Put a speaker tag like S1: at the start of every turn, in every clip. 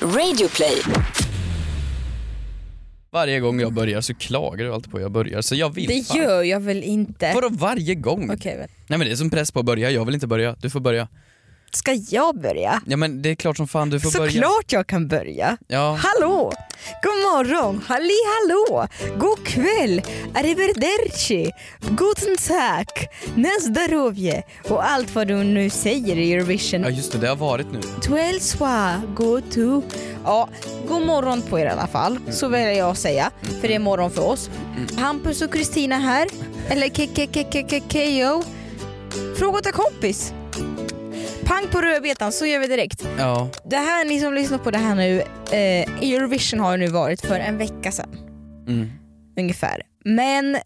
S1: Radioplay.
S2: Varje gång jag börjar så klagar du alltid på att jag börjar, så jag vill
S3: Det
S2: fan.
S3: gör jag väl inte?
S2: Vadå varje gång?
S3: Okej, men
S2: Nej men det är som press på att börja, jag vill inte börja, du får börja.
S3: ska jag börja?
S2: Ja men det är klart som fan du får börja.
S3: Såklart jag kan börja.
S2: Ja.
S3: Hallå! God morgon, halli hallå! God kväll, arrivederci, guten tag, nazdarovje och allt vad du nu säger i Eurovision.
S2: ja just det, det har varit nu.
S3: Twel swa, go to. Ja, god morgon på er i alla fall, så vill jag säga. För det är morgon för oss. Hampus och Kristina här, eller KKKKKKO. Fråga till kompis. Pang på rödbetan, så gör vi direkt.
S2: Ja.
S3: Det här, ni som lyssnar på det här nu, eh, Eurovision har ju nu varit för en vecka sedan
S2: Mm.
S3: ungefär. Men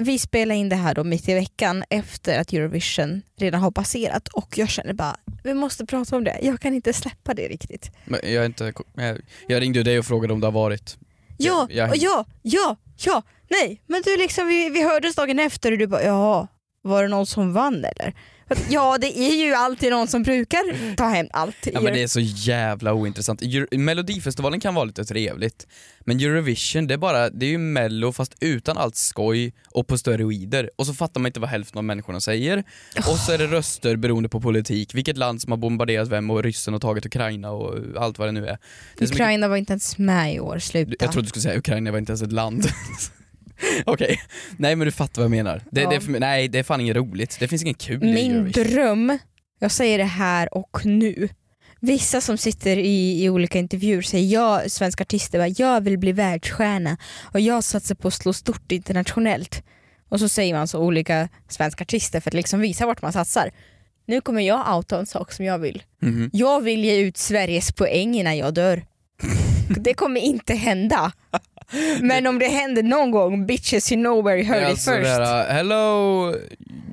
S3: vi spelar in det här då mitt i veckan efter att Eurovision redan har passerat och jag känner bara, vi måste prata om det. Jag kan inte släppa det riktigt.
S2: Men jag, är inte, jag- jag ringde ju dig och frågade om det har varit.
S3: Ja,
S2: Jag-
S3: och ja, ja, ja, nej. Men du liksom, vi, vi hördes dagen efter och du bara ja, var det någon som vann eller? För att, Ja det är ju alltid någon som brukar ta hem allt.
S2: Ja men det är så jävla ointressant. Euro- Melodifestivalen kan vara lite trevligt, men Eurovision det är bara, det är ju mello fast utan allt skoj och på steroider. Och så fattar man inte vad hälften av människorna säger. Och så är det röster beroende på politik, vilket land som har bombarderat vem och ryssen har tagit Ukraina och allt vad det nu är. Det är så mycket-
S3: Ukraina var inte ens med i år, sluta.
S2: Du- Jag trodde du skulle säga Ukraina var inte ens ett land. Okej, nej men du fattar vad jag menar. Det,
S3: Ja.
S2: det är för, mig- nej det är fan inget roligt, det finns ingen kul i
S3: Min
S2: Eurovision.
S3: dröm, jag säger det här och nu. Vissa som sitter i, i olika intervjuer säger jag, svenska artister, bara, jag vill bli världsstjärna och jag satsar på att slå stort internationellt. Och så säger man så olika svenska artister för att liksom visa vart man satsar. Nu kommer jag outa en sak som jag vill.
S2: Mhm.
S3: Jag vill ge ut Sveriges poäng innan jag dör. Det kommer inte hända. Men om det händer någon gång, bitches you know where you heard it
S2: Alltså
S3: first.
S2: det här, Hello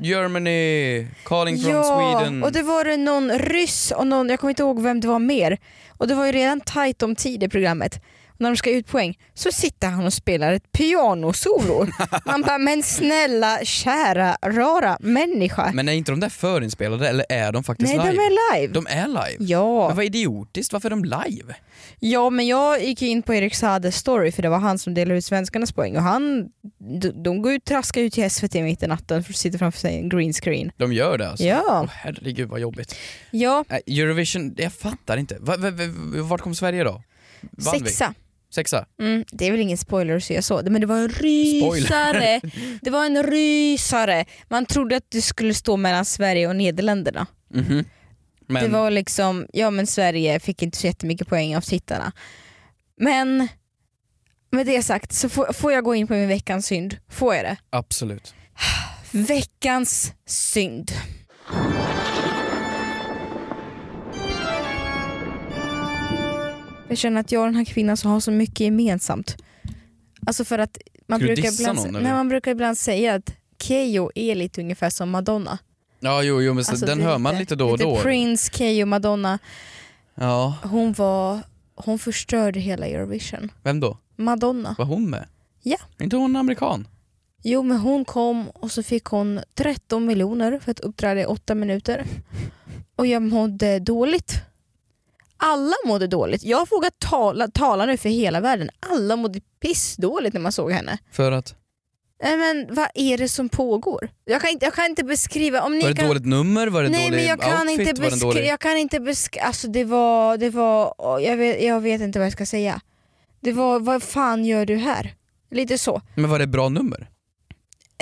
S2: Germany, calling from Sweden.
S3: och det var det någon ryss och någon, jag kommer inte ihåg vem det var mer. Och det var ju redan tajt om tid i programmet. Och när de ska ut poäng så sitter han och spelar ett pianosolo. Man bara, men snälla kära rara människa.
S2: Men är inte de där förinspelade eller är de faktiskt
S3: Nej, de
S2: live?
S3: är live.
S2: De är live. Men
S3: Ja.
S2: vad idiotiskt, varför är de live?
S3: ja, men jag gick in på Erik Saades story för det var han som delade ut svenskarnas poäng och han, de, de går ju traskar ut till SVT mitt i natten för att sitta framför sig en green screen.
S2: De gör det alltså. Åh,
S3: Ja,
S2: herregud vad jobbigt.
S3: ja.
S2: Nej, Eurovision, jag fattar inte. Va, va, va, vart kom Sverige då? Vann vi?
S3: sexa.
S2: Sexa?
S3: Mm, det är väl ingen spoiler att säga så, men det var en rysare. Det var en rysare. Man trodde att det skulle stå mellan Sverige och Nederländerna.
S2: Mhm. Men,
S3: Det var liksom, ja men Sverige fick inte så jättemycket poäng av tittarna. Men med det sagt så får, får jag gå in på min veckans synd. Får jag det?
S2: absolut.
S3: Veckans synd. Jag känner att jag och den här kvinnan så har så mycket gemensamt. Alltså för att man
S2: Ska du
S3: brukar,
S2: dissa
S3: ibland,
S2: någon, eller?
S3: nej, man brukar ibland säga att Keyyo är lite ungefär som Madonna.
S2: Ja, jo, jo men så-
S3: Alltså
S2: den
S3: det är
S2: hör man lite då och
S3: lite
S2: då.
S3: Prince, Keyyo, Madonna.
S2: Ja,
S3: Hon var, hon förstörde hela Eurovision.
S2: vem då?
S3: Madonna.
S2: Var hon med?
S3: Ja.
S2: Är inte hon amerikan?
S3: Jo men hon kom och så fick hon 13 miljoner för att uppträda i 8 minuter. Och jag mådde dåligt. Alla mådde dåligt. Jag vågar tala, tala nu för hela världen. Alla mådde pissdåligt när man såg henne.
S2: För att?
S3: Nej men vad är det som pågår? Jag kan inte, jag kan inte beskriva. Om ni
S2: Var det
S3: kan...
S2: ett dåligt nummer? Var det
S3: Nej
S2: dålig
S3: men jag kan
S2: outfit?
S3: inte
S2: var det en dålig...
S3: beskriva, jag kan inte beskriva, alltså det var, det var, åh, jag vet, jag vet inte vad jag ska säga. Det var, vad fan gör du här? Lite så.
S2: Men var det ett bra nummer?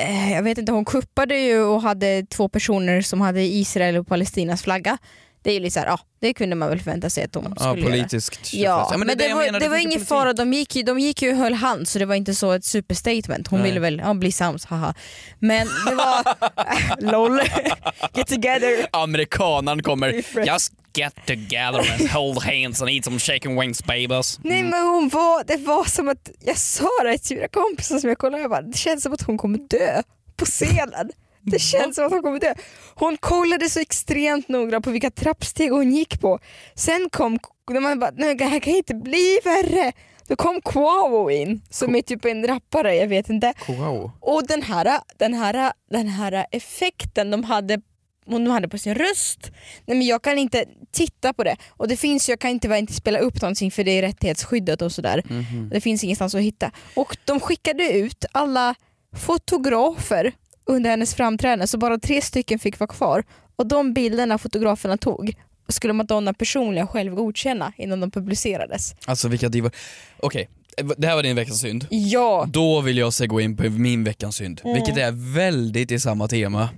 S3: eh, jag vet inte, hon kuppade ju och hade två personer som hade Israel och Palestinas flagga. Det är ju lite såhär, ja det kunde man väl förvänta sig att de
S2: Ja,
S3: skulle göra.
S2: politiskt.
S3: Ja,
S2: men det, är det, jag
S3: var,
S2: menar,
S3: det var
S2: finns
S3: ingen
S2: politik.
S3: fara, de gick, ju, de gick ju och höll hand så det var inte så ett superstatement. Hon
S2: Nej.
S3: ville väl ja, bli sams, haha. Men det var... LOL! Get together!
S2: Amerikanan kommer.
S3: Different.
S2: Just get together and hold hands and eat some chicken wings babies.
S3: Nej men hon var, det var som att, jag sa det till mina kompisar som jag kollade jag bara, det känns som att hon kommer dö på scenen. Det känns som att hon kommer dö. Hon kollade så extremt noga på vilka trappsteg hon gick på. Sen kom, när man bara, nej det här kan inte bli värre. Då kom Quavo in, som är typ en rappare, jag vet inte.
S2: Wow.
S3: Och den här, den här, den här effekten de hade hon hade på sin röst. Nej men jag kan inte titta på det. Och det finns ju, jag kan inte, bara inte spela upp någonting för det är rättighetsskyddat och sådär.
S2: Mhm.
S3: Det finns ingenstans att hitta. Och de skickade ut alla fotografer under hennes framträdande så bara tre stycken fick vara kvar. Och de bilderna fotograferna tog skulle Madonna personligen själv godkänna innan de publicerades.
S2: Alltså vilka divor. Okej, eh, det här var din veckans synd.
S3: Ja!
S2: Då vill jag segwa in på min veckans synd,
S3: Mm.
S2: vilket är väldigt i samma tema.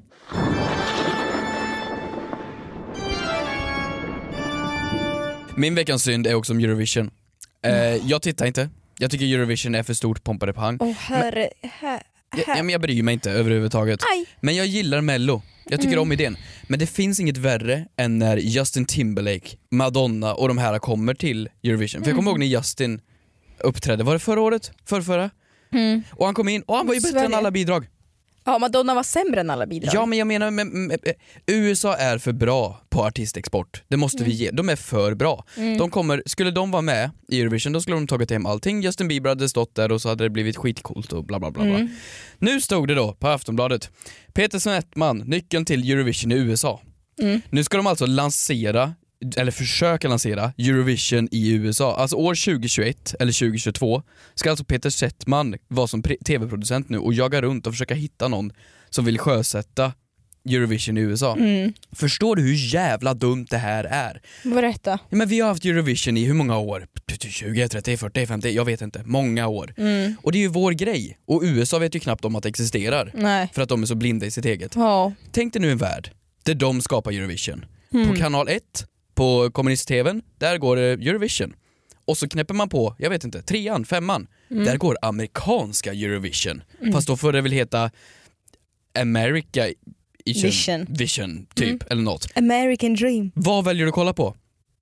S2: Min veckans synd är också om Eurovision. Eh,
S3: Mm.
S2: jag tittar inte, jag tycker Eurovision är för stort pompadepang.
S3: Åh herre... Här,
S2: Jag, ja,
S3: här.
S2: men jag bryr mig inte överhuvudtaget.
S3: Aj!
S2: Men jag gillar mello, jag
S3: Mm.
S2: tycker om idén. Men det finns inget värre än när Justin Timberlake, Madonna och de här kommer till Eurovision. För jag kommer ihåg när Justin uppträdde, var det förra året? Förrförra?
S3: Mm.
S2: Och han kom in och han var ju bättre än
S3: Sverige.
S2: alla bidrag.
S3: Ja, Madonna var sämre än alla bidrag.
S2: Ja men jag menar, men, men, eh, USA är för bra på artistexport. Det måste vi ge. De är för bra. De kommer, skulle de vara med i Eurovision då skulle de tagit hem allting. Justin Bieber hade stått där och så hade det blivit skitcoolt och bla bla bla.
S3: Mm.
S2: bla. Nu stod det då på Aftonbladet. Peter Senettman, nyckeln till Eurovision i USA.
S3: Mm.
S2: Nu ska de alltså lansera eller försöka lansera Eurovision i USA. Alltså år 2021 eller 2022 ska alltså Peter Settman vara som pre- tv-producent nu och jaga runt och försöka hitta någon som vill sjösätta Eurovision i USA.
S3: Mm.
S2: Förstår du hur jävla dumt det här är?
S3: Berätta.
S2: Ja, men vi har haft Eurovision i hur många år? 20, 30, 40, 50, jag vet inte. Många år.
S3: Mm.
S2: Och det är ju vår grej. Och USA vet ju knappt om att det existerar.
S3: Nej.
S2: För att de är så blinda i sitt eget.
S3: Ja.
S2: Tänk dig nu en värld där de skapar Eurovision. På
S3: Mm.
S2: kanal 1, på kommunist-tvn, där går det Eurovision. Och så knäpper man på, jag vet inte, trean, femman.
S3: Mm.
S2: Där går amerikanska Eurovision. Fast då får det väl heta America
S3: Vision. Mm.
S2: Vision typ, eller något.
S3: American dream.
S2: Vad väljer du att kolla på?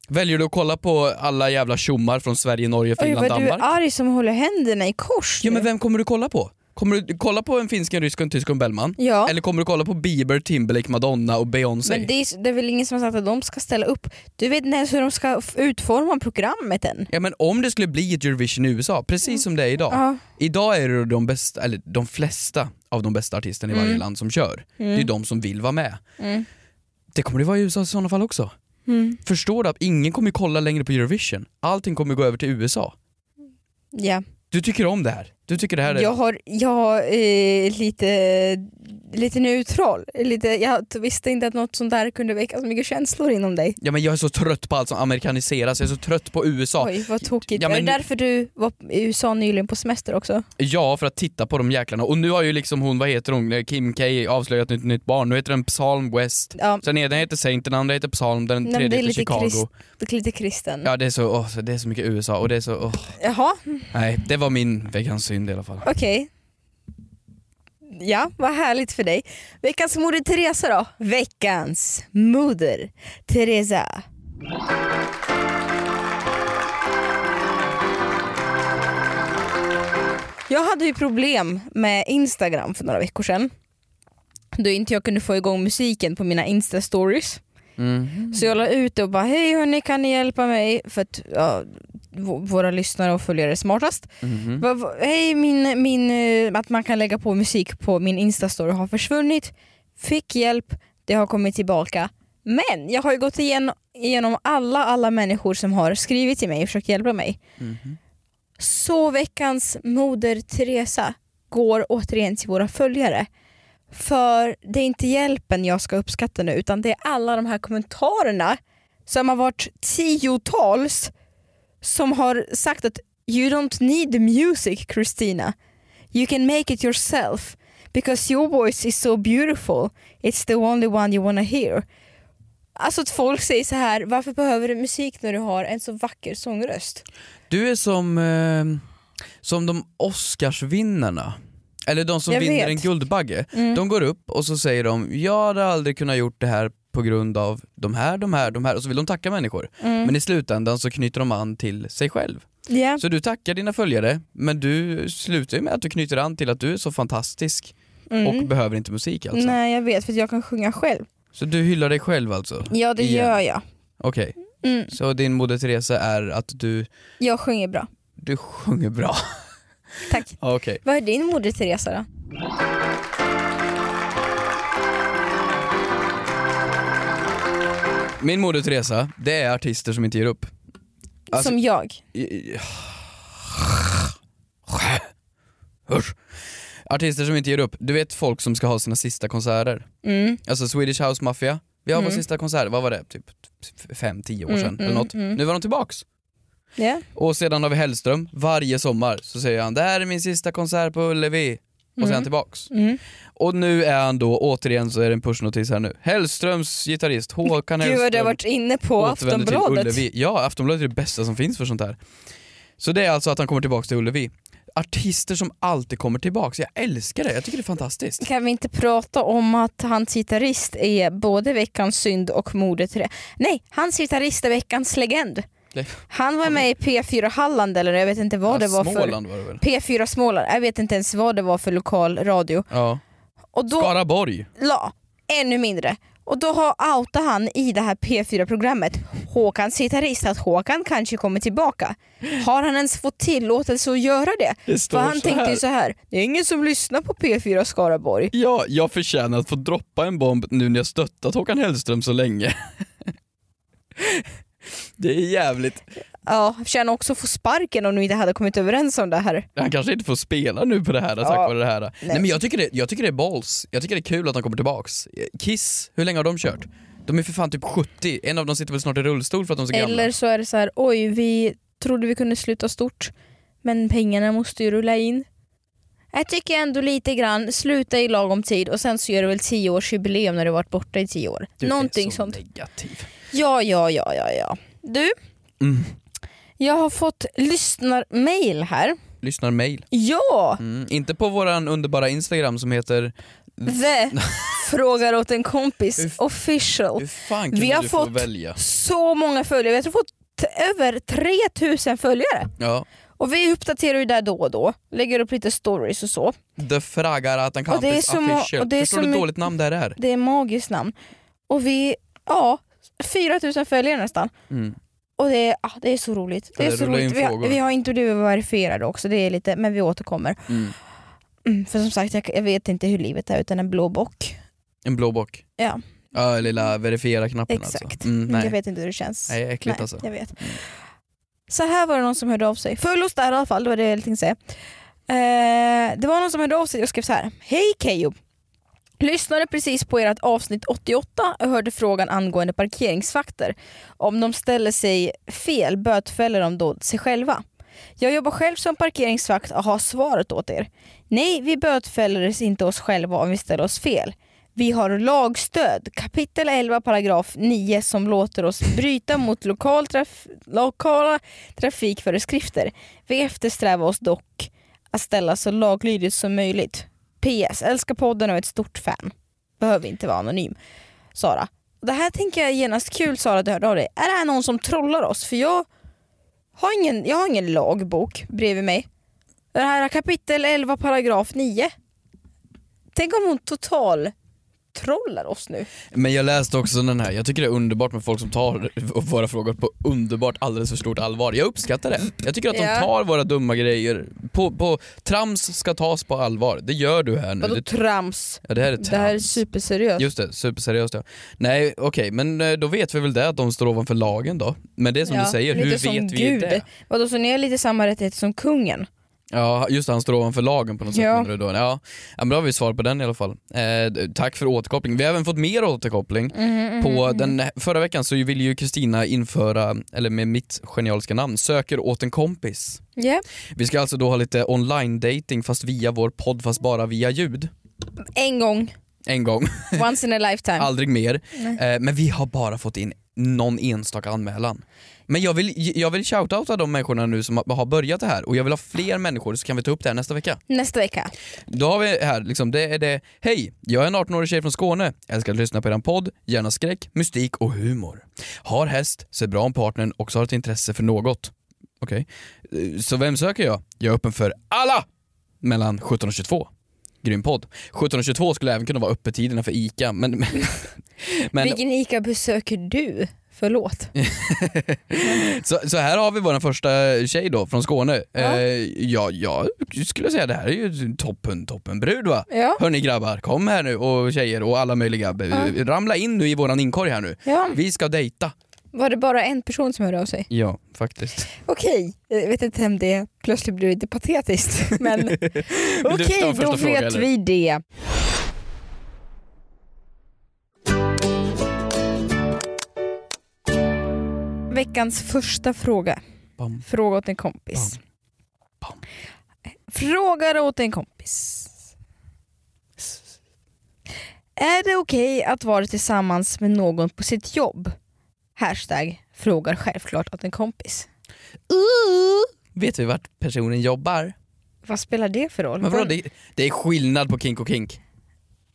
S2: Väljer du att kolla på alla jävla tjommar från Sverige, Norge,
S3: Oj
S2: Finland,
S3: vad du
S2: Danmark?
S3: är arg som håller händerna i kors
S2: Ja
S3: nu.
S2: men vem kommer du kolla på? Kommer du kolla på en finsk, en rysk, en tysk och en Bellman?
S3: ja.
S2: Eller kommer du kolla på Bieber, Timberlake, Madonna och Beyoncé?
S3: men det är, det är väl ingen som har sagt att de ska ställa upp. Du vet inte ens hur de ska f- utforma programmet än.
S2: Ja men om det skulle bli ett Eurovision i USA,
S3: Mm.
S2: precis som det är idag.
S3: Ja.
S2: Idag är det de bästa, eller de flesta av de bästa artisterna i varje
S3: Mm.
S2: land som kör. Det är
S3: Mm.
S2: de som vill vara med.
S3: Mm.
S2: Det kommer det vara i USA i sådana fall också.
S3: Mm.
S2: Förstår du att ingen kommer kolla längre på Eurovision? Allting kommer gå över till USA.
S3: Ja.
S2: Du tycker om det här. Du tycker det här är...
S3: Jag har, jag har eh, lite, lite neutral. Lite, jag t- visste inte att något sånt där kunde väcka så mycket känslor inom dig.
S2: Ja men jag är så trött på allt som amerikaniseras, jag är så trött på USA.
S3: Oj vad tokigt.
S2: Ja,
S3: Var
S2: men-
S3: det därför du var i USA nyligen på semester också?
S2: Ja, för att titta på de jäklarna. Och nu har ju liksom hon, vad heter hon, Kim K avslöjat ett nytt barn. Nu heter den Psalm West.
S3: Ja,
S2: Så den ena heter Saint, den andra heter Psalm, den
S3: Nej, men
S2: tredje
S3: det
S2: heter
S3: är lite
S2: Chicago.
S3: krist- det är lite kristen.
S2: Ja det är så, åh, så- det är så mycket USA och det är så, åh.
S3: Jaha,
S2: nej det var min veckans synd i alla fall.
S3: okej. Ja, vad härligt för dig. Veckans moder Teresa då? Veckans moder Teresa. Jag hade ju problem med Instagram för några veckor sedan. Då inte jag kunde få igång musiken på mina Insta-stories. Så jag la ut det och bara hej hörni kan ni hjälpa mig? För att ja, v- våra lyssnare och följare är smartast.
S2: Mhm.
S3: Vad- vad- Hej, min, min, eh, att man kan lägga på musik på min instastory har försvunnit. Fick hjälp, det har kommit tillbaka. Men jag har ju gått igen, igenom alla, alla människor som har skrivit till mig och försökt hjälpa mig.
S2: Mhm.
S3: Så veckans moder Teresa går återigen till våra följare. För det är inte hjälpen jag ska uppskatta nu utan det är alla de här kommentarerna som har varit tiotals som har sagt att you don't need the music Christina. You can make it yourself because your voice is so beautiful. It's the only one you wanna hear. Alltså att folk säger så här, varför behöver du musik när du har en så vacker sångröst?
S2: Du är som, eh, som de Oscarsvinnarna. Eller de som
S3: Jag
S2: vinner
S3: vet.
S2: en Guldbagge.
S3: Mm.
S2: De går upp och så säger de jag hade aldrig kunnat gjort det här på grund av de här, de här, de här och så vill de tacka människor.
S3: Mm.
S2: Men i slutändan så knyter de an till sig själv.
S3: Ja.
S2: Så du tackar dina följare men du slutar ju med att du knyter an till att du är så fantastisk
S3: Mm.
S2: och behöver inte musik alltså.
S3: Nej jag vet för att jag kan sjunga själv.
S2: Så du hyllar dig själv alltså?
S3: Ja det
S2: Igen.
S3: gör jag.
S2: Okej.
S3: Mm.
S2: Så din moder Teresa är att du,
S3: Jag sjunger bra.
S2: du sjunger bra?
S3: Tack.
S2: Ja, Okej.
S3: Vad är din moder Teresa då?
S2: Min moder Teresa, det är artister som inte ger upp. Alltså-
S3: Som jag.
S2: Usch. Artister som inte ger upp. Du vet folk som ska ha sina sista konserter.
S3: Mm.
S2: Alltså Swedish House Mafia. Vi har vår
S3: Mm.
S2: sista konsert, vad var det? Typ 5-10 år sedan
S3: Mm,
S2: eller
S3: mm,
S2: något.
S3: mm.
S2: Nu var de tillbaks.
S3: Ja.
S2: Och sedan har vi Hellström. Varje sommar så säger han det här är min sista konsert på Ullevi. Och sen är han tillbaks.
S3: Mm.
S2: Och nu är han då, återigen så är det en pushnotis här nu. Hellströms gitarrist Håkan
S3: Gud vad du har
S2: Hellström
S3: varit inne på
S2: återvänder till
S3: Aftonbladet.
S2: Ullevi. Ja, Aftonbladet är det bästa som finns för sånt här. Så det är alltså att han kommer tillbaka till Ullevi. Artister som alltid kommer tillbaka, jag älskar det, jag tycker det är fantastiskt.
S3: Kan vi inte prata om att hans gitarrist är både veckans synd och mordet till det? Nej, hans gitarrist är veckans legend.
S2: Det-
S3: Han var med i P4 Halland eller jag vet inte vad det var för...
S2: Småland var det väl?
S3: P4 Småland, jag vet inte ens vad det var för lokal radio.
S2: Ja.
S3: Och då
S2: Skaraborg.
S3: la, ännu mindre. Och då har outat han i det här P4-programmet Håkans gitarrist att Håkan kanske kommer tillbaka. Har han ens fått tillåtelse att göra det?
S2: Det
S3: För
S2: står
S3: han
S2: så
S3: tänkte
S2: här.
S3: ju så här, det är ingen som lyssnar på P4 Skaraborg.
S2: Ja, jag förtjänar att få droppa en bomb nu när jag stöttat Håkan Hellström så länge. det är jävligt.
S3: Ja, förtjänar också få sparken om de inte hade kommit överens om det här.
S2: Han kanske inte får spela nu på det här tack
S3: Ja.
S2: vare det här. Nej. men jag tycker det, jag tycker det är balls. Jag tycker det är kul att de kommer tillbaks. Kiss, hur länge har de kört? De är för fan typ 70, en av dem sitter väl snart i rullstol för att de är så gamla.
S3: Eller så är det så här, oj vi trodde vi kunde sluta stort men pengarna måste ju rulla in. Jag tycker ändå lite grann, sluta i lagom tid och sen så gör du väl 10 års jubileum när du varit borta i 10 år.
S2: Du är
S3: Någonting
S2: så
S3: sånt.
S2: negativ.
S3: Ja, ja, ja, ja, ja. Du,
S2: Mm.
S3: jag har fått lyssnarmail här.
S2: Lyssnar mail.
S3: Ja!
S2: Mm. Inte på våran underbara Instagram som heter Mm.
S3: The frågar åt en kompis
S2: Uff.
S3: official.
S2: Hur fan kunde
S3: Vi har
S2: du
S3: fått-
S2: få välja?
S3: Så många följare, jag tror fått t- över 3000 följare.
S2: Ja.
S3: Och vi uppdaterar ju där då och då, lägger upp lite stories och så.
S2: The Fraggar Atan
S3: Och det är
S2: Campus
S3: så må-
S2: Official.
S3: och det är
S2: Förstår
S3: så
S2: du hur
S3: my-
S2: dåligt namn det här är?
S3: Det är magiskt namn. Och vi, ja, 4000 följare nästan.
S2: Mm.
S3: Och det är, ah, det är så roligt. Det
S2: Ja,
S3: är
S2: det
S3: så
S2: rullar in
S3: roligt. Vi har,
S2: frågor.
S3: vi har intervjuer verifierade också, det är lite, men vi återkommer.
S2: Mm.
S3: Mm, för som sagt, jag, jag vet inte hur livet är utan en blå bock.
S2: En blå bock.
S3: Ja.
S2: Ja, lilla verifiera-knappen
S3: Exakt.
S2: alltså. Mm, nej.
S3: Jag vet inte hur det känns.
S2: nej, äckligt alltså.
S3: jag vet. Så här var det någon som hörde av sig. Följ oss där i alla fall, det var det jag tänkte säga. Eh, det var någon som hörde av sig och skrev så här. Hej Keyyo! Lyssnade precis på ert avsnitt 88 och hörde frågan angående parkeringsvakter. Om de ställer sig fel bötfäller de då sig själva. Jag jobbar själv som parkeringsvakt och har svaret åt er. Nej, vi bötfäller inte oss själva om vi ställer oss fel. Vi har lagstöd, kapitel 11 paragraf 9 som låter oss bryta mot lokal traf- lokala trafikföreskrifter. Vi eftersträvar oss dock att ställa så laglydigt som möjligt. PS, älskar podden och är ett stort fan. Behöver inte vara anonym. Sara. Det här tänker jag genast kul Sara att du hörde av dig. Är det här någon som trollar oss? För jag har ingen, jag har ingen lagbok bredvid mig. Det här är kapitel 11 paragraf 9. Tänk om hon total trollar oss nu.
S2: Men jag läste också den här, jag tycker det är underbart med folk som tar våra frågor på underbart alldeles för stort allvar. Jag uppskattar det. Jag tycker att de
S3: Ja.
S2: tar våra dumma grejer, på, på, trams ska tas på allvar. Det gör du här nu.
S3: Vadå
S2: Det,
S3: trams?
S2: ja, det här är trams.
S3: Det här är superseriöst.
S2: Just det, superseriöst ja. Nej okej, men eh, då vet vi väl det att de står ovanför lagen då. Men det är som
S3: Ja,
S2: du säger,
S3: lite
S2: hur
S3: som
S2: vet vi
S3: Gud.
S2: det?
S3: Vadå, så ni har lite samma rättigheter som kungen?
S2: Ja just det, han står ovanför lagen på något sätt
S3: Ja.
S2: menar du då. Ja. ja men då har vi svar på den i alla fall. Eh, d- tack för återkoppling. Vi har även fått mer återkoppling. På den, förra veckan så ville ju Kristina införa, eller med mitt genialiska namn, söker åt en kompis.
S3: Ja.
S2: Vi ska alltså då ha lite online dating fast via vår podd fast bara via ljud.
S3: En gång,
S2: En gång,
S3: once in a lifetime.
S2: aldrig mer. Eh, men vi har bara fått in någon enstaka anmälan. Men jag vill, jag vill shoutouta de människorna nu som har börjat det här och jag vill ha fler människor så kan vi ta upp det här nästa vecka.
S3: Nästa vecka.
S2: Då har vi här, liksom, det är det. Hej, jag är en 18-årig tjej från Skåne. Älskar att lyssna på er podd, gärna skräck, mystik och humor. Har häst, ser bra om partnern och så har ett intresse för något. Okej. Eh, Så vem söker jag? Jag är öppen för alla! Mellan 17 och 22. Grym podd. 17 och 22 skulle även kunna vara öppettiderna för ICA, men... men, men
S3: Vilken ICA besöker du? Förlåt.
S2: Så, så här har vi vår första tjej då från Skåne.
S3: Ja.
S2: Eh, ja, jag skulle säga det här är ju toppen, toppen brud va?
S3: Ja,
S2: Hörni grabbar, kom här nu och tjejer och alla möjliga.
S3: Ja.
S2: Ramla in nu i våran inkorg här nu.
S3: ja.
S2: Vi ska dejta.
S3: Var det bara en person som hörde av sig?
S2: Ja, faktiskt.
S3: Okej, jag vet inte om det plötsligt blev lite patetiskt. Men
S2: ta
S3: okej,
S2: första
S3: då
S2: fråga,
S3: vet
S2: eller?
S3: vi det. Veckans första fråga.
S2: Bam.
S3: Fråga åt en kompis.
S2: Bam.
S3: Frågar åt en kompis. Är det okej att vara tillsammans med någon på sitt jobb? Hashtag frågar självklart åt en kompis. Uh.
S2: Vet vi vart personen jobbar?
S3: Vad spelar det för roll?
S2: Men vadå, det, det är skillnad på kink och kink.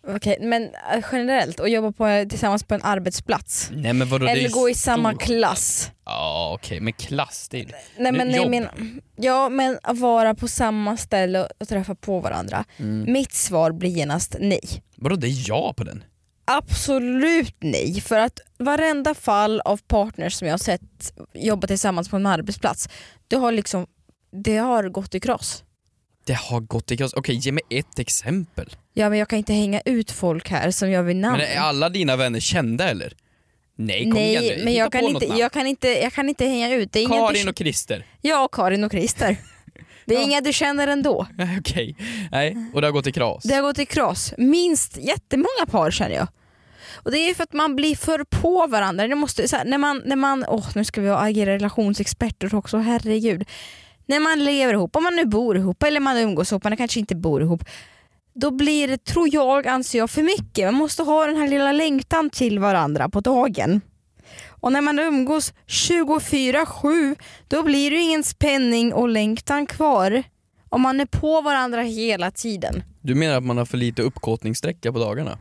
S3: Okej, men eh, generellt, att jobba på, tillsammans på en arbetsplats.
S2: Nej men vadå, det är
S3: Eller
S2: ju
S3: gå i samma
S2: stor-
S3: klass.
S2: Ja okej, men klass det är...
S3: Nej,
S2: Nu,
S3: men, nej,
S2: jobb.
S3: men, ja, men att vara på samma ställe och- och träffa på varandra.
S2: Mm.
S3: Mitt svar blir genast nej.
S2: Vadå, det är jag på den?
S3: Absolut nej, för att varenda fall av partners som jag har sett jobba tillsammans på en arbetsplats, det har liksom det har gått i kross.
S2: Det har gått i kross. Okej, ge mig ett exempel.
S3: Ja men jag kan inte hänga ut folk här som jag vill namn.
S2: Men är alla dina vänner kända eller? Nej kom igen
S3: Nej
S2: nu.
S3: men
S2: Hitta
S3: jag kan,
S2: på något
S3: inte,
S2: namn.
S3: jag, kan inte, jag kan inte hänga ut. Det är ingen du,
S2: Karin och Christer.
S3: Ja, och Karin och Christer. Det är
S2: Ja.
S3: inga du känner ändå.
S2: Nej, Okej, nej och det har gått i kras.
S3: Det har gått i kross. Minst jättemånga par känner jag. Och Det är för att man blir för på varandra. Det måste, så här, när man, när man, åh, nu ska vi agera relationsexperter också, herregud. När man lever ihop, om man nu bor ihop eller man umgås ihop, man kanske inte bor ihop. Då blir det, tror jag, anser jag, för mycket. Man måste ha den här lilla längtan till varandra på dagen. Och när man umgås 24-7 då blir det ju ingen spänning och längtan kvar. Om man är på varandra hela tiden.
S2: Du menar att man har för lite uppkåtningssträcka på dagarna?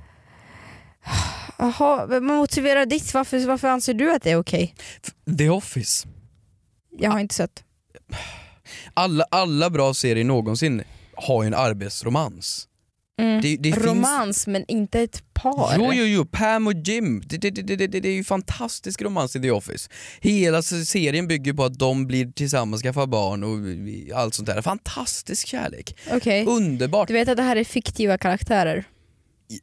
S3: Jaha, men motivera ditt. Varför, varför anser du att det är okej?
S2: The Office.
S3: Jag har inte sett.
S2: Alla, alla bra serier någonsin har ju en arbetsromans.
S3: Mm.
S2: Det, det
S3: Romans men inte ett par.
S2: Jo, jo, jo. Pam och Jim. Det, det, det, det, det, det är ju fantastisk romans i The Office. Hela se- serien bygger på att de blir tillsammans, skaffar barn och allt sånt där. Fantastisk kärlek.
S3: Okej.
S2: Underbart.
S3: Eh, Du vet att det här är fiktiva karaktärer?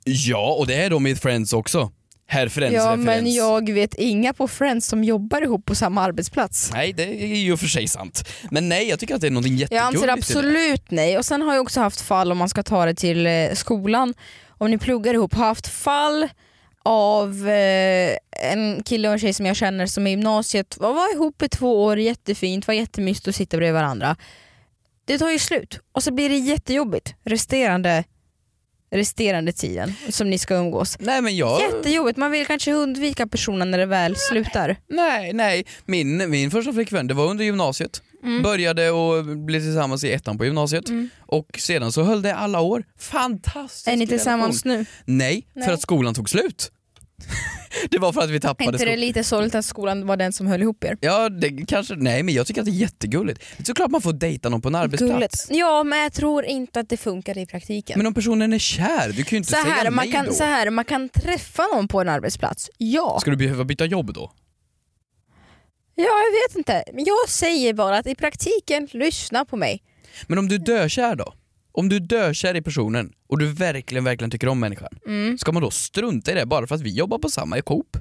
S2: Ja, och det är de i Friends också. Herr Friends
S3: ja,
S2: referens.
S3: men jag vet inga på Friends som jobbar ihop på samma arbetsplats.
S2: Nej, det är ju för sig sant. Men nej, jag tycker att det är någonting
S3: Jag
S2: jättegulligt
S3: anser
S2: i det.
S3: absolut nej. Och sen har jag också haft fall, om man ska ta det till eh, skolan, om ni pluggar ihop, har haft fall av eh, en kille och en tjej som jag känner som i gymnasiet var, var ihop i två år, jättefint, var jättemysigt att sitta bredvid varandra. Det tar ju slut och så blir det jättejobbigt resterande, resterande tiden som ni ska umgås.
S2: Nej men jag...
S3: Jättejobbigt, man vill kanske undvika personen när det väl slutar.
S2: Nej, nej. Min, min första flickvän, det var under gymnasiet.
S3: Mm.
S2: Började och blev tillsammans i ettan på gymnasiet. Och sedan så höll det alla år. Fantastisk
S3: Är ni tillsammans nu?
S2: relation. Nej, för
S3: Nej.
S2: att skolan tog slut. det var för att vi
S3: Är
S2: tappade
S3: inte det
S2: skolan.
S3: lite sorgligt att skolan var den som höll ihop er?
S2: Ja, det kanske... Nej men jag tycker att det är jättegulligt. Såklart man får dejta någon på en arbetsplats.
S3: Gulligt. Ja, men jag tror inte att det funkar i praktiken.
S2: Men om personen är kär, du kan ju inte
S3: så, här,
S2: säga
S3: man
S2: nej
S3: kan,
S2: då.
S3: så här, man kan träffa någon på en arbetsplats. Ja.
S2: Ska du behöva byta jobb då?
S3: ja, jag vet inte. Men jag säger bara att i praktiken, lyssna på mig.
S2: Men om du är dökär då? Om du är dökär i personen och du verkligen, verkligen tycker om människan,
S3: Mm.
S2: ska man då strunta i det bara för att vi jobbar på samma i Coop?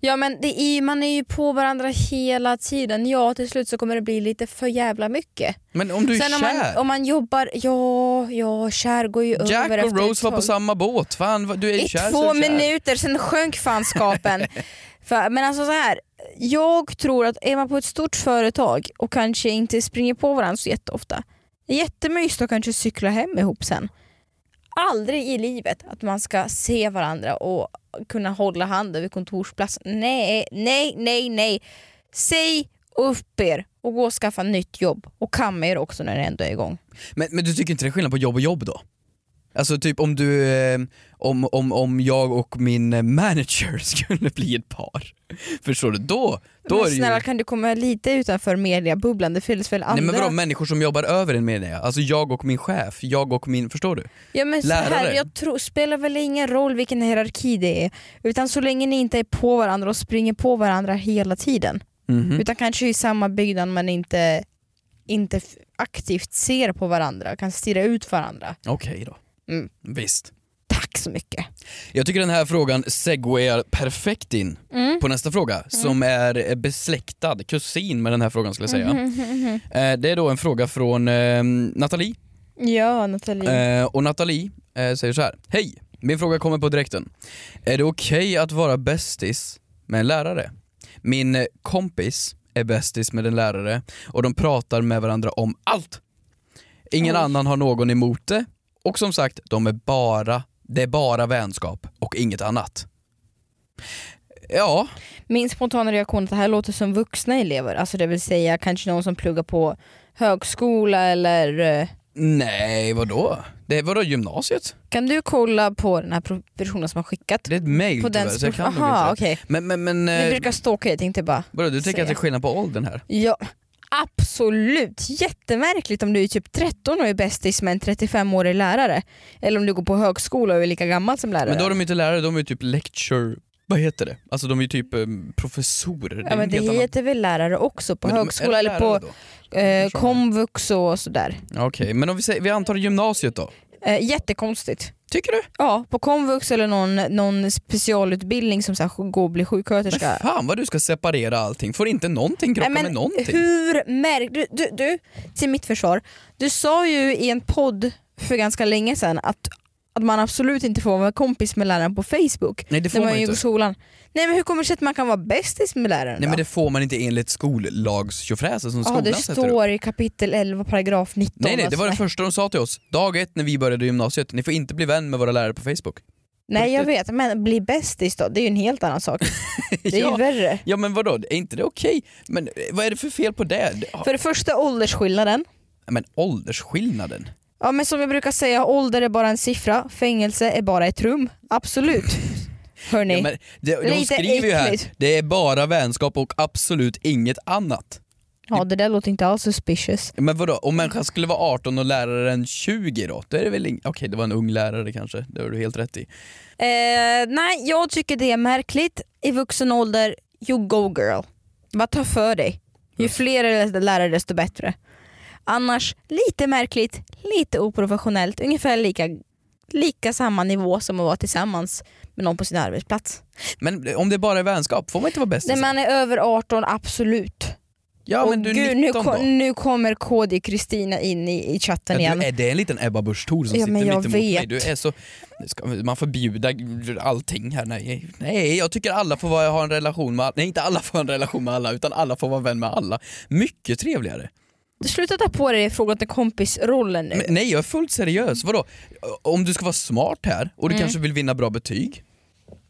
S3: Ja, men det är, man är ju på varandra hela tiden. Ja, till slut så kommer det bli lite för jävla mycket.
S2: Men om du är
S3: Sen om
S2: kär?
S3: man, om man jobbar, ja, ja, kär går ju
S2: Jack
S3: över
S2: och
S3: efter ett
S2: Rose var på
S3: tag.
S2: samma båt, fan vad- du är ju
S3: I
S2: kär
S3: två
S2: så är du kär.
S3: minuter, sen sjönk fanskapen. För, men alltså så här, jag tror att är man på ett stort företag och kanske inte springer på varandra så jätteofta, det är jättemysigt att kanske cykla hem ihop sen. Aldrig i livet att man ska se varandra och kunna hålla hand över kontorsplatsen. Nej, nej, nej, nej. Säg upp er och gå och skaffa nytt jobb och kamma er också när det ändå är igång.
S2: Men, men du tycker inte det är skillnad på jobb och jobb då? Alltså typ om du, eh, om, om, om jag och min eh, manager skulle bli ett par. Förstår du? Då, då är
S3: Men
S2: det
S3: snälla
S2: ju...
S3: kan du komma lite utanför mediabubblan? Det finns väl andra...
S2: Nej men vadå människor som jobbar över en menar jag. Alltså jag och min chef, jag och min, förstår du?
S3: Ja men så här,
S2: Lärare.
S3: jag tror, spelar väl ingen roll vilken hierarki det är. Utan så länge ni inte är på varandra och springer på varandra hela tiden.
S2: Mhm.
S3: Utan kanske i samma byggnad men inte, inte f- aktivt ser på varandra, kan stirra ut varandra.
S2: Okej då.
S3: Mm.
S2: Visst.
S3: Tack så mycket.
S2: Jag tycker den här frågan segwayar perfekt in
S3: Mm.
S2: på nästa fråga som är eh, besläktad, kusin med den här frågan skulle jag
S3: Mhm.
S2: säga. Eh, Det är då en fråga från eh, Nathalie
S3: Ja Nathalie.
S2: Eh, och Nathalie eh, säger så här. Hej! Min fråga kommer på direkten. Är det okej att vara bästis med en lärare? Min eh, kompis är bästis med en lärare och de pratar med varandra om allt. Ingen
S3: Oj.
S2: annan har någon emot det och som sagt, de är bara, det är bara vänskap och inget annat. Ja,
S3: Min spontana reaktion är att det här låter som vuxna elever, alltså det vill säga kanske någon som pluggar på högskola eller eh,
S2: nej vadå? Det är vadå gymnasiet?
S3: kan du kolla på den här pro- personen som har skickat?
S2: Det är ett mejl
S3: På
S2: tyvärr
S3: den
S2: så jag kan nog inte
S3: Aha,
S2: det.
S3: okej.
S2: Men, men, men
S3: Ni
S2: eh,
S3: brukar stalka, jag tänkte bara
S2: vadå, du tänker
S3: säga.
S2: att det är skillnad på åldern här?
S3: Ja, absolut. Jättemärkligt om du är typ 13 och är bästis med en 35-årig lärare. Eller om du går på högskola och är lika gammal som lärare.
S2: Men då är de ju inte lärare, de är ju typ lecture, vad heter det? Alltså de är ju typ eh, professorer.
S3: ja, men det
S2: helt annat.
S3: heter väl lärare också på
S2: Men de- är
S3: högskola
S2: det
S3: eller på
S2: lärare
S3: eh,
S2: Förstår.
S3: komvux och sådär.
S2: då? Okej, men om vi, säger, vi antar gymnasiet då?
S3: Eh, jättekonstigt.
S2: Tycker du?
S3: Ja, på komvux eller någon, någon specialutbildning som så här, går och blir sjuksköterska.
S2: Men fan vad du ska separera allting, får inte någonting krocka
S3: Nej,
S2: med någonting?
S3: Hur märk... Du, du, du, till mitt försvar. Du sa ju i en podd för ganska länge sedan att, att man absolut inte får vara kompis med läraren på Facebook.
S2: Nej det får
S3: när
S2: man
S3: man
S2: ju
S3: gick i
S2: inte.
S3: skolan. Nej men hur kommer det sig att man kan vara bästis med läraren
S2: Nej
S3: då?
S2: men det får man inte enligt skollagstjofräsen som
S3: Ja,
S2: skolan
S3: det
S2: sätter upp.
S3: står i kapitel 11 paragraf 19.
S2: Nej nej, det
S3: alltså.
S2: var det första de sa till oss. Dag ett när vi började gymnasiet, ni får inte bli vän med våra lärare på Facebook.
S3: Nej jag vet, men bli bästis då, det är ju en helt annan sak. Det är ju
S2: ja.
S3: värre.
S2: ja men vadå, är inte det okej? Men eh, vad är det för fel på det? Det- ja,
S3: För det första åldersskillnaden.
S2: Men åldersskillnaden?
S3: Ja men som jag brukar säga, ålder är bara en siffra, fängelse är bara ett rum. Absolut. Hörni.
S2: Ja, men det, de
S3: Lite
S2: skriver ju här,
S3: äckligt.
S2: det är bara vänskap och absolut inget annat.
S3: Ja det där låter inte alls suspicious.
S2: Men vadå, om människan skulle vara 18 och läraren 20 då? då är det väl ing- Okej, det var en ung lärare kanske, det har du helt rätt i.
S3: Eh, nej jag tycker det är märkligt. I vuxen ålder, you go girl. Bara ta för dig.
S2: Mm.
S3: Ju fler lärare desto bättre. Annars lite märkligt, lite oprofessionellt, ungefär lika, lika samma nivå som att vara tillsammans med någon på sin arbetsplats.
S2: Men om det bara är vänskap, får man inte vara bäst?
S3: När man är över 18, absolut.
S2: ja
S3: Och
S2: men du är 19
S3: gud, nu,
S2: då?
S3: ko- nu kommer KD Kristina in i, i chatten
S2: Ja,
S3: igen.
S2: du, är det en liten Ebba Busch Thor som
S3: Ja,
S2: sitter
S3: men
S2: mitt
S3: jag
S2: emot mig?
S3: vet.
S2: Du är så, ska man förbjuda allting här? Nej, nej jag tycker alla får vara, ha en relation med alla. Nej, inte alla får ha en relation med alla, utan alla får vara vän med alla. Mycket trevligare.
S3: Sluta ta på dig frågan till kompisrollen nu.
S2: Men, nej jag är fullt seriös, vadå? Om du ska vara smart här och du
S3: Mm.
S2: kanske vill vinna bra betyg,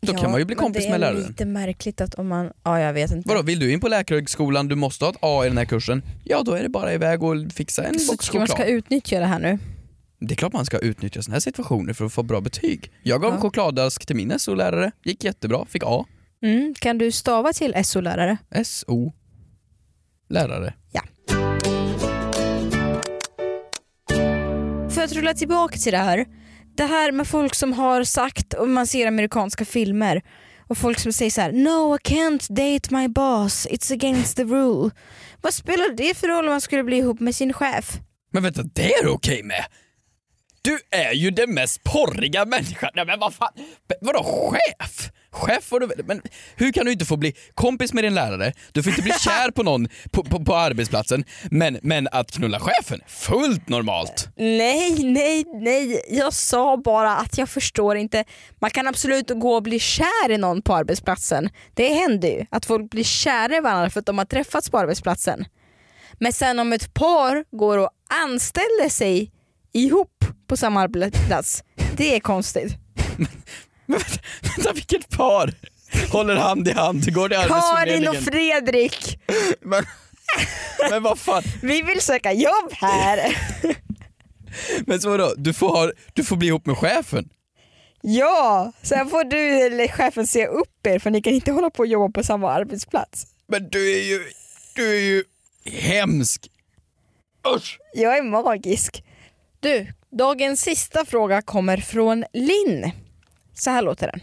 S2: då kan man ju bli
S3: men
S2: kompis med
S3: Det är
S2: läraren.
S3: lite märkligt att om man, ja jag vet inte.
S2: Vadå, vill du in på läkarhögskolan, du måste ha ett A i den här kursen, ja då är det bara iväg och fixa en
S3: Så
S2: box
S3: tycker man
S2: choklad.
S3: ska utnyttja det här nu.
S2: Det är klart man ska utnyttja sådana här situationer för att få bra betyg. Jag gav
S3: Ja.
S2: chokladask till min SO-lärare, gick jättebra, fick A.
S3: Mm. Kan du stava till SO-lärare?
S2: SO. Lärare.
S3: För att rulla tillbaka till det här. Det här med folk som har sagt, och man ser amerikanska filmer, och folk som säger så här: No I can't date my boss, it's against the rule. Vad spelar det för roll om man skulle bli ihop med sin chef?
S2: Men vänta, det är du okej med? Du är ju den mest porriga människan. Nej men vad fan, B- vadå chef? Chef får du väl- men hur kan du inte få bli kompis med din lärare, du får inte bli kär på någon på, på, på arbetsplatsen, men, men att knulla chefen, fullt normalt.
S3: Nej, nej, nej. Jag sa bara att jag förstår inte. Man kan absolut gå och bli kär i någon på arbetsplatsen. Det händer ju att folk blir kära i varandra för att de har träffats på arbetsplatsen. Men sen om ett par går och anställer sig ihop på samma arbetsplats, det är konstigt.
S2: Men vänta, vänta vilket par håller hand i hand, går till
S3: Karin och
S2: arbetsförmedlingen.
S3: Fredrik,
S2: Men, men vad fan,
S3: vi vill söka jobb här.
S2: Men så vadå, du får, ha, du får bli ihop med chefen?
S3: Ja, sen får du eller chefen se upp er för ni kan inte hålla på och jobba på samma arbetsplats.
S2: Men du är ju, du är ju hemsk! Usch!
S3: Jag är magisk. Du, dagens sista fråga kommer från Linn. Så här låter den.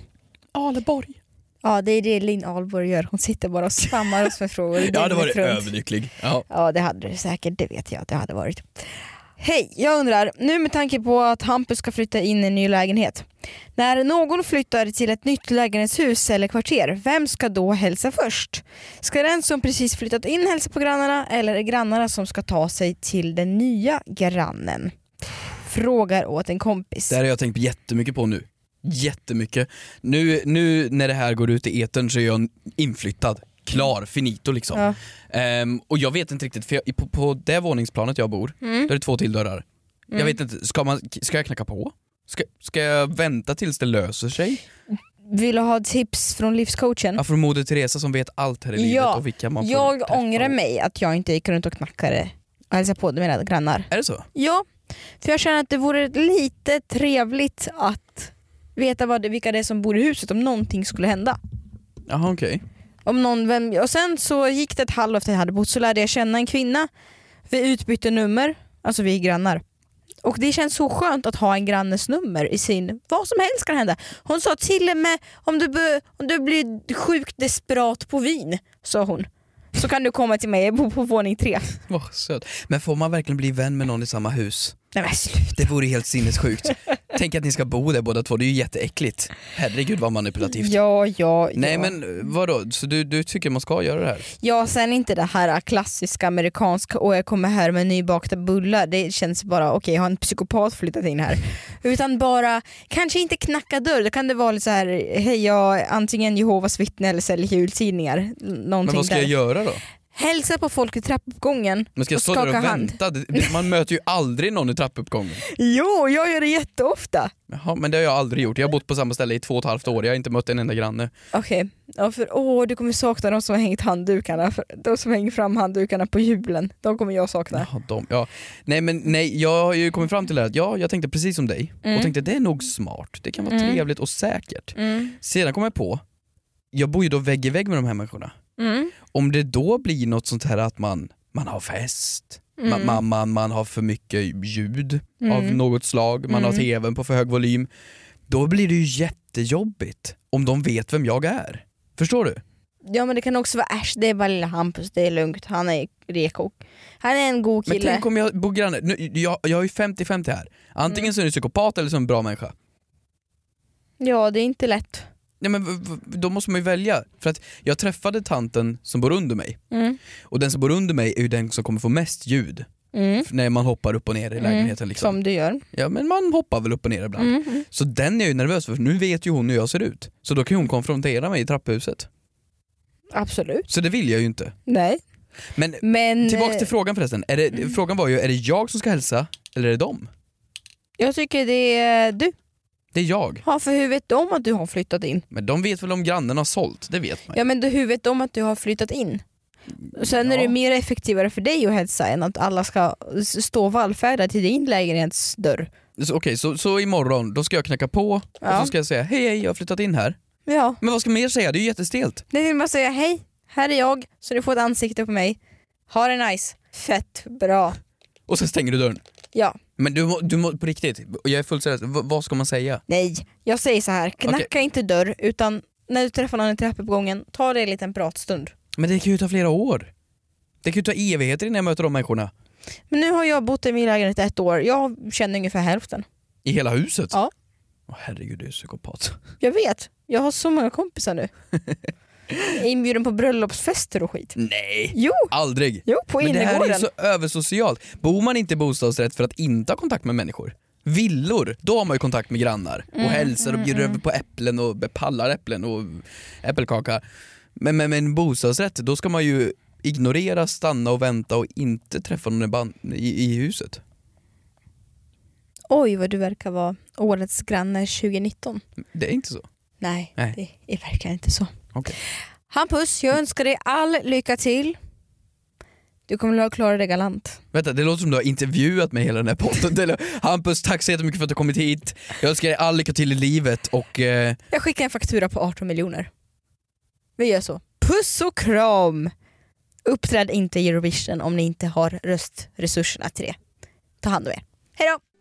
S2: Aleborg.
S3: Ja, det är det Linn Ahlborg gör. Hon sitter bara och svammar oss med frågor.
S2: Jag hade varit
S3: dygnet runt.
S2: överlycklig. Ja.
S3: Ja, det hade du säkert. Det vet jag att det hade varit. Hej, jag undrar, nu med tanke på att Hampus ska flytta in i en ny lägenhet. När någon flyttar till ett nytt lägenhetshus eller kvarter, vem ska då hälsa först? Ska den som precis flyttat in hälsa på grannarna eller är det grannarna som ska ta sig till den nya grannen? Frågar åt en kompis.
S2: Det här har jag tänkt jättemycket på nu. Jättemycket. Nu, nu när det här går ut i etern så är jag inflyttad. Klar, finito liksom.
S3: Ja.
S2: Ehm, och jag vet inte riktigt, för jag, på, på det våningsplanet jag bor,
S3: Mm.
S2: där är det två till dörrar. Jag vet inte, ska, man, ska jag knacka på? Ska, ska jag vänta tills det löser sig?
S3: Mm. Vill du ha tips från livscoachen?
S2: Ja, från Moder Teresa som vet allt här i livet
S3: Ja,
S2: och vilka man får
S3: Jag
S2: träffa.
S3: ångrar mig att jag inte gick runt och knackade och hälsade på mina grannar.
S2: Är det så?
S3: Ja, för jag känner att det vore lite trevligt att veta vad det, vilka det är som bor i huset om någonting skulle hända.
S2: Jaha okej.
S3: Om någon, vem, och sen så gick det ett halvår efter jag hade bott så lärde jag känna en kvinna. Vi utbytte nummer, alltså vi är grannar. Och det känns så skönt att ha en grannes nummer i sin, vad som helst kan hända. Hon sa till och med om du, be, om du blir sjukt desperat på vin, sa hon. Så kan du komma till mig, jag bor på våning tre.
S2: Vad söt. Men får man verkligen bli vän med någon i samma hus?
S3: Nej men sluta.
S2: Det vore helt sinnessjukt. Tänk att ni ska bo där båda två, det är ju jätteäckligt. Herregud vad manipulativt.
S3: Ja, ja,
S2: Nej
S3: ja.
S2: men eh, vadå, så du, du tycker man ska göra det här?
S3: Ja, sen inte det här klassiska amerikanska och jag kommer här med nybakta bullar. Det känns bara, okej har en psykopat flyttat in här? Utan bara, kanske inte knacka dörr, då kan det vara lite så här, hej jag är antingen Jehovas vittne eller säljer jultidningar. L- Någonting
S2: Men vad ska
S3: där.
S2: jag göra då?
S3: Hälsa på folk i trappuppgången.
S2: Men ska jag
S3: Och
S2: stå där
S3: skaka
S2: och
S3: hand.
S2: vänta? Det- Man möter ju aldrig någon i trappuppgången.
S3: Jo, jag gör det jätteofta.
S2: Jaha, men det har jag aldrig gjort. Jag har bott på samma ställe i två och ett halvt år, jag har inte mött en enda granne.
S3: Okej, ja, för åh du kommer sakna de som har hängt handdukarna, för, de som hänger fram handdukarna på julen. De kommer jag sakna.
S2: Jaha, de, ja. Nej men nej, jag har ju kommit fram till det här att ja, jag tänkte precis som dig
S3: Mm.
S2: och tänkte det är nog smart, det kan vara
S3: Mm.
S2: trevligt och säkert.
S3: Mm.
S2: Sedan kom jag på, jag bor ju då vägg i vägg med de här människorna.
S3: Mm.
S2: Om det då blir något sånt här att man, man har fest,
S3: Mm.
S2: man, man, man, man har för mycket ljud
S3: Mm.
S2: av något slag, man har
S3: Mm.
S2: tvn på för hög volym. Då blir det ju jättejobbigt om de vet vem jag är. Förstår du?
S3: Ja men det kan också vara äsch, det är bara lilla Hampus, det är lugnt, han är reko. Han är en god
S2: Men
S3: kille.
S2: tänk om jag bor granne, nu, jag, jag är ju 50-50 här. Antingen
S3: Mm.
S2: så är du psykopat eller så är du en bra människa.
S3: Ja det är inte lätt.
S2: Nej, men, v- v- då måste man ju välja. För att jag träffade tanten som bor under mig
S3: Mm.
S2: och den som bor under mig är ju den som kommer få mest ljud
S3: Mm.
S2: när man hoppar upp och ner i lägenheten. Liksom.
S3: Som du gör.
S2: Ja men man hoppar väl upp och ner ibland.
S3: Mm. Mm.
S2: Så den är jag ju nervös för, för nu vet ju hon hur jag ser ut. Så då kan hon konfrontera mig i trapphuset.
S3: Absolut.
S2: Så det vill jag ju inte.
S3: Nej.
S2: Men
S3: Men
S2: tillbaks till
S3: eh,
S2: frågan förresten. Är det, Frågan var ju, är det jag som ska hälsa eller är det dem?
S3: jag tycker det är du
S2: Det är jag.
S3: har för huvudet om att du har flyttat in.
S2: Men de vet väl om grannen har sålt, det vet man ju.
S3: Ja men du huvudet om att du har flyttat in. Sen är det
S2: Ja.
S3: mer effektivare för dig att hälsa än att alla ska s- stå vallfärda till din lägenhetsdörr.
S2: Så, Okej, så, så imorgon då ska jag knacka på och
S3: Ja.
S2: så ska jag säga hej hej jag har flyttat in här.
S3: Ja.
S2: Men vad ska man mer säga? Det är ju jättestelt.
S3: Det vill man säga hej, här är jag så du får ett ansikte på mig. Ha det nice. Fett bra.
S2: Och sen stänger du dörren.
S3: Ja.
S2: Men du, må- du må, på riktigt, jag är fullt seriös, V- vad ska man säga?
S3: Nej, jag säger så här. Knacka inte dörr utan när du träffar någon i trappuppgången, ta dig en liten pratstund.
S2: Men det kan ju ta flera år. Det kan ju ta evigheter innan jag möter de människorna.
S3: Men nu har jag bott i min lägenhet ett år, jag känner ungefär hälften.
S2: I hela huset?
S3: Ja.
S2: Åh, herregud, du är psykopat.
S3: Jag vet, jag har så många kompisar nu. Jag är Inbjuden på bröllopsfester och skit.
S2: Nej!
S3: Jo,
S2: Aldrig!
S3: jo på
S2: Mm. Men det här är ju
S3: innergården.
S2: så översocialt. Bor man inte i bostadsrätt för att inte ha kontakt med människor? Villor, då har man ju kontakt med grannar och hälsar och bjuder över på äpplen och pallar äpplen och äppelkaka. Men, men, men bostadsrätt, då ska man ju ignorera, stanna och vänta och inte träffa någon i, ban- i, i huset.
S3: Oj vad du verkar vara årets granne 2019.
S2: Det är inte så.
S3: Nej,
S2: Nej.
S3: det är verkligen inte så.
S2: Okej.
S3: Hampus, jag önskar dig all lycka till. Du kommer att klara dig galant.
S2: Vänta, det låter som du har intervjuat mig hela den här podden. Eller, Hampus, tack så jättemycket för att du kommit hit. Jag önskar dig all lycka till i livet och eh,
S3: Jag skickar en faktura på 18 miljoner. Vi gör så. Puss och kram! Uppträd inte i Eurovision om ni inte har röstresurserna till det. Ta hand om er. Hej då!